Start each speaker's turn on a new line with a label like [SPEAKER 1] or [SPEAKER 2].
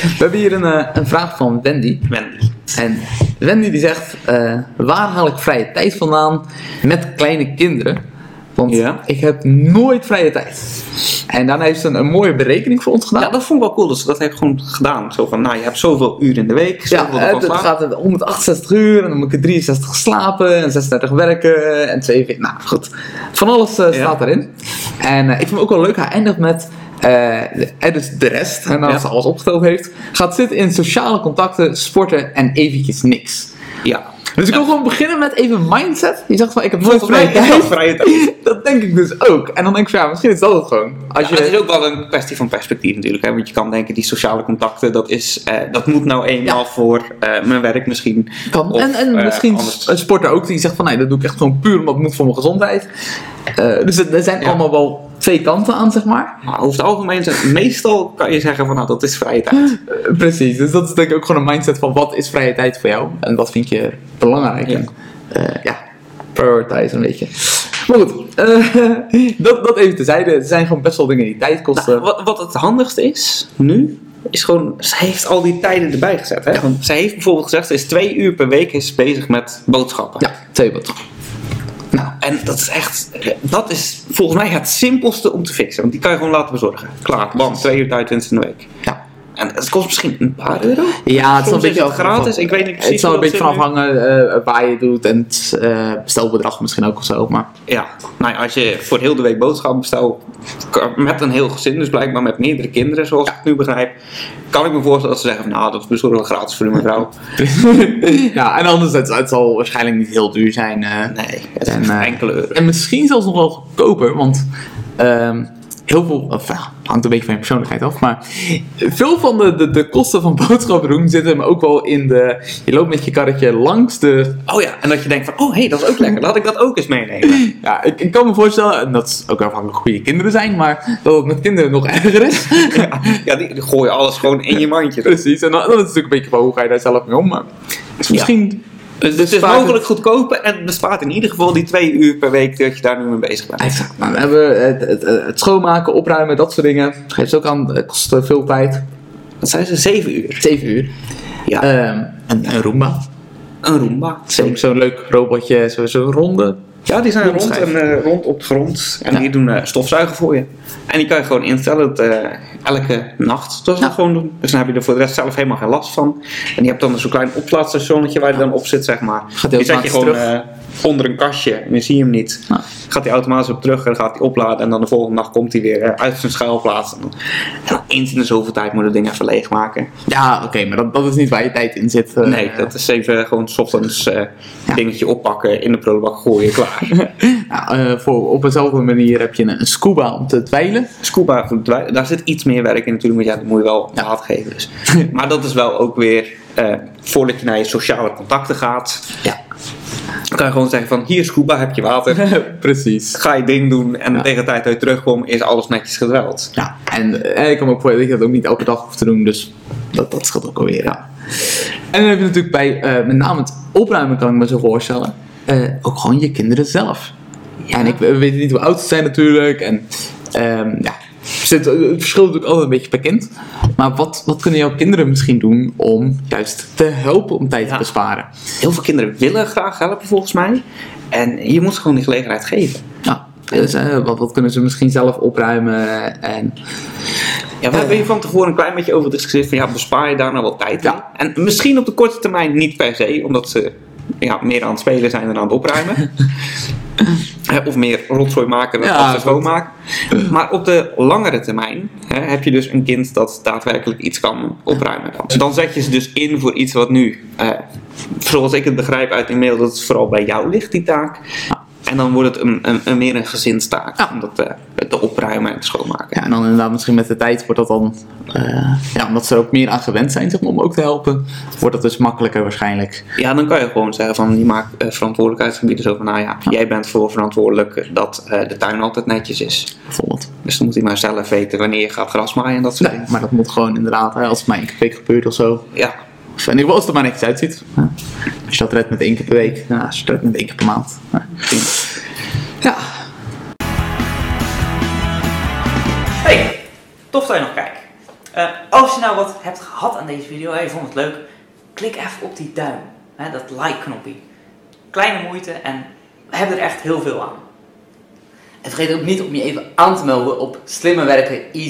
[SPEAKER 1] We hebben hier een, eh, een vraag van Wendy.
[SPEAKER 2] Wendy.
[SPEAKER 1] En Wendy die zegt, eh, waar haal ik vrije tijd vandaan met kleine kinderen? Want
[SPEAKER 2] Ja.
[SPEAKER 1] ik heb nooit vrije tijd. En daarna heeft ze een, een mooie berekening voor ons gedaan.
[SPEAKER 2] Ja, Nou, dat vond ik wel cool dat ze dat heeft gewoon gedaan. Zo van, nou, je hebt zoveel uur in de week,
[SPEAKER 1] Ja,
[SPEAKER 2] zoveel
[SPEAKER 1] het,
[SPEAKER 2] ervan
[SPEAKER 1] het
[SPEAKER 2] slapen.
[SPEAKER 1] gaat het 168 uur en dan moet ik er 63 slapen en 36 werken en 42. Nou goed, van alles eh,
[SPEAKER 2] Ja.
[SPEAKER 1] staat erin. En eh, ik vind het ook wel leuk, hij eindigt met. eh, en dus de rest, en nadat
[SPEAKER 2] Ja.
[SPEAKER 1] ze alles opgeteld heeft, gaat zitten in sociale contacten, sporten en eventjes niks.
[SPEAKER 2] Ja.
[SPEAKER 1] Dus ik wil gewoon beginnen met even mindset. Je zegt van ik heb nooit
[SPEAKER 2] Volgens
[SPEAKER 1] vrije
[SPEAKER 2] mij is dat
[SPEAKER 1] tijd.
[SPEAKER 2] vrije tijd.
[SPEAKER 1] Dat denk ik dus ook. En dan denk ik, van, ja, misschien is dat het gewoon. Als
[SPEAKER 2] Ja,
[SPEAKER 1] je,
[SPEAKER 2] het is ook wel een kwestie van perspectief natuurlijk. Hè? Want je kan denken, die sociale contacten, dat, is, eh, dat moet nou eenmaal voor eh, mijn werk misschien.
[SPEAKER 1] Kan.
[SPEAKER 2] Of,
[SPEAKER 1] en en
[SPEAKER 2] eh,
[SPEAKER 1] misschien
[SPEAKER 2] anders.
[SPEAKER 1] een sporter ook die zegt van nee, dat doe ik echt gewoon puur omdat het moet voor mijn gezondheid. Eh, dus het- er zijn
[SPEAKER 2] Ja.
[SPEAKER 1] allemaal wel twee kanten aan, zeg maar.
[SPEAKER 2] Maar over het algemeen, zijn- meestal kan je zeggen van, nou, dat is vrije tijd.
[SPEAKER 1] Eh, precies. Dus dat is denk ik ook gewoon een mindset van wat is vrije tijd voor jou en wat vind je belangrijk.
[SPEAKER 2] Ja.
[SPEAKER 1] En, eh, ja, prioritize een beetje. Maar goed, eh, dat, dat even tezijde. Er zijn gewoon best wel dingen die tijd kosten.
[SPEAKER 2] Nou, wat, wat het handigste is, nu, is gewoon, ze heeft al die tijden erbij gezet. Hè? Want zij heeft bijvoorbeeld gezegd, ze is twee uur per week is ze bezig met boodschappen.
[SPEAKER 1] ja, twee wat. Nou,
[SPEAKER 2] En dat is echt, dat is volgens mij het simpelste om te fixen. Want die kan je gewoon laten bezorgen. Klaar, bam, twee uur tijd winst in de week.
[SPEAKER 1] ja.
[SPEAKER 2] En het kost misschien een paar euro.
[SPEAKER 1] Ja, het
[SPEAKER 2] Soms
[SPEAKER 1] zal een beetje
[SPEAKER 2] is het
[SPEAKER 1] afhangen
[SPEAKER 2] gratis,
[SPEAKER 1] van-
[SPEAKER 2] ik weet niet
[SPEAKER 1] Het
[SPEAKER 2] precies
[SPEAKER 1] zal een
[SPEAKER 2] hoe dat
[SPEAKER 1] beetje
[SPEAKER 2] zit
[SPEAKER 1] vanaf hangen eh, waar je het doet en het eh, bestelbedrag misschien ook of zo. Maar
[SPEAKER 2] Ja, nou ja, als je voor heel de week boodschappen bestelt, k- met een heel gezin, dus blijkbaar met meerdere kinderen, zoals ik het nu begrijp, kan ik me voorstellen dat ze zeggen van, nou, dat bezorgen we gratis voor de mevrouw.
[SPEAKER 1] ja, en anders, het, het zal waarschijnlijk niet heel duur zijn. eh.
[SPEAKER 2] Nee, het is
[SPEAKER 1] En, eh,
[SPEAKER 2] enkele euro.
[SPEAKER 1] En misschien zelfs nog wel goedkoper, want ehm, heel veel, of, ja, hangt een beetje van je persoonlijkheid af, maar veel van de, de, de kosten van boodschappen doen zitten hem ook wel in de, je loopt met je karretje langs de,
[SPEAKER 2] Oh ja, en dat je denkt van, oh hé, hey, dat is ook lekker, laat ik dat ook eens meenemen.
[SPEAKER 1] ja, ik, ik kan me voorstellen, en dat is ook afhankelijk hoe je kinderen zijn, maar dat het met kinderen nog erger is.
[SPEAKER 2] ja, die, die gooien alles gewoon in je mandje.
[SPEAKER 1] Precies, en dan, dan is het natuurlijk een beetje van hoe ga je daar zelf mee om, maar het is misschien...
[SPEAKER 2] Dus het is
[SPEAKER 1] bespaart
[SPEAKER 2] mogelijk goedkoper en het bespaart in ieder geval die twee uur per week dat je daar nu mee bezig bent.
[SPEAKER 1] Exact. Nou, dan hebben we het, het, het schoonmaken, opruimen, dat soort dingen. Geeft ook aan, eh, kost eh, veel tijd.
[SPEAKER 2] Dat zijn ze zeven uur.
[SPEAKER 1] Zeven uur.
[SPEAKER 2] Ja.
[SPEAKER 1] Ehm, een, een Roomba.
[SPEAKER 2] Een Roomba.
[SPEAKER 1] Zo'n zo'n leuk robotje, zo- zo'n ronde.
[SPEAKER 2] Ja, die zijn rond, en,
[SPEAKER 1] Rondschijf.
[SPEAKER 2] eh, rond op de grond. En
[SPEAKER 1] Ja.
[SPEAKER 2] die doen eh, stofzuigen voor je. En die kan je gewoon instellen dat, eh, elke nacht. Dat is
[SPEAKER 1] Ja.
[SPEAKER 2] gewoon doen. Dus dan heb je er voor de rest zelf helemaal geen last van. En je hebt dan zo'n klein oplaadstationnetje waar je dan op zit, zeg maar.
[SPEAKER 1] Gaat die
[SPEAKER 2] die zet je
[SPEAKER 1] automatisch
[SPEAKER 2] gewoon
[SPEAKER 1] terug?
[SPEAKER 2] eh, onder een kastje en dan zie je hem niet.
[SPEAKER 1] Nou.
[SPEAKER 2] Gaat hij automatisch op terug en dan gaat hij opladen. En dan de volgende nacht komt hij weer eh, uit zijn schuilplaats. En dan, en dan eens in de zoveel tijd moet je dingen even leegmaken.
[SPEAKER 1] Ja, oké, maar dat, dat is niet waar je tijd in zit. eh.
[SPEAKER 2] nee, dat is even gewoon 's ochtends eh
[SPEAKER 1] Ja.
[SPEAKER 2] dingetje oppakken, in de prullenbak gooien, klaar.
[SPEAKER 1] Nou, eh, voor, op eenzelfde manier heb je een, een scuba om te dweilen.
[SPEAKER 2] Scuba, goed, daar daar zit iets meer werk in natuurlijk, want ja, dat moet je wel laat geven. Dus. maar dat is wel ook weer, eh, voordat je naar je sociale contacten gaat,
[SPEAKER 1] Ja,
[SPEAKER 2] kan je gewoon zeggen van, hier scuba, heb je water,
[SPEAKER 1] precies.
[SPEAKER 2] ga je ding doen en
[SPEAKER 1] Ja.
[SPEAKER 2] tegen de tijd dat je terugkomt is alles netjes gedweld.
[SPEAKER 1] Ja, en eh, ik kan me ook voorstellen dat je dat ook niet elke dag hoeft te doen, dus dat, dat scheelt ook alweer. Ja. En dan heb je natuurlijk bij, eh, met name het opruimen kan ik me zo voorstellen, eh, ook gewoon je kinderen zelf. En ik we- we weet niet hoe oud ze zijn natuurlijk, en ehm, ja, er zit- het verschilt natuurlijk altijd een beetje per kind. Maar wat, wat kunnen jouw kinderen misschien doen om juist te helpen om tijd te
[SPEAKER 2] Ja.
[SPEAKER 1] besparen?
[SPEAKER 2] Heel veel kinderen willen graag helpen volgens mij en je moet gewoon die gelegenheid geven.
[SPEAKER 1] Ja, dus, eh, wat, wat kunnen ze misschien zelf opruimen en...
[SPEAKER 2] Ja, we
[SPEAKER 1] Eh.
[SPEAKER 2] hebben hier van tevoren een klein beetje over discussieerd van ja, bespaar je daar nou wel tijd in?
[SPEAKER 1] Ja.
[SPEAKER 2] En misschien op de korte termijn niet per se, omdat ze ja, meer aan het spelen zijn dan aan het opruimen. Hè, of meer rotzooi maken dan
[SPEAKER 1] Ja,
[SPEAKER 2] ja,
[SPEAKER 1] goed.
[SPEAKER 2] schoonmaken. Maar op de langere termijn hè, heb je dus een kind dat daadwerkelijk iets kan opruimen. Dan, dan zet je ze dus in voor iets wat nu, eh, zoals ik het begrijp uit die mail, dat het vooral bij jou ligt, die taak. En dan wordt het een, een, een meer een gezinstaak,
[SPEAKER 1] Ja.
[SPEAKER 2] omdat eh, te opruimen en te schoonmaken.
[SPEAKER 1] Ja, en dan inderdaad misschien met de tijd wordt dat dan, eh, ja, omdat ze er ook meer aan gewend zijn zeg maar, om ook te helpen, wordt dat dus makkelijker waarschijnlijk.
[SPEAKER 2] Ja, dan kan je gewoon zeggen van je maakt eh, verantwoordelijkheidsgebieden zo van nou ja, jij bent voor verantwoordelijk dat eh, de tuin altijd netjes is.
[SPEAKER 1] Bijvoorbeeld.
[SPEAKER 2] Dus dan moet hij maar zelf weten wanneer je gaat gras maaien en dat soort
[SPEAKER 1] Nee,
[SPEAKER 2] dingen.
[SPEAKER 1] maar dat moet gewoon inderdaad, hè, als het maar één keer per week gebeurt of zo.
[SPEAKER 2] Ja,
[SPEAKER 1] Of in ieder geval als het er maar netjes uitziet. Ja. Als je dat redt met één keer per week, nou, als je dat redt met één keer per maand. Ja. Ja.
[SPEAKER 2] Hey, tof dat je nog kijkt. Eh,
[SPEAKER 3] Eh, als je nou wat hebt gehad aan deze video en je vond het leuk, klik even op die duim. Hè, dat like-knopje. Kleine moeite en we hebben er echt heel veel aan.
[SPEAKER 4] En vergeet ook niet om je even aan te melden op Slimmer Werken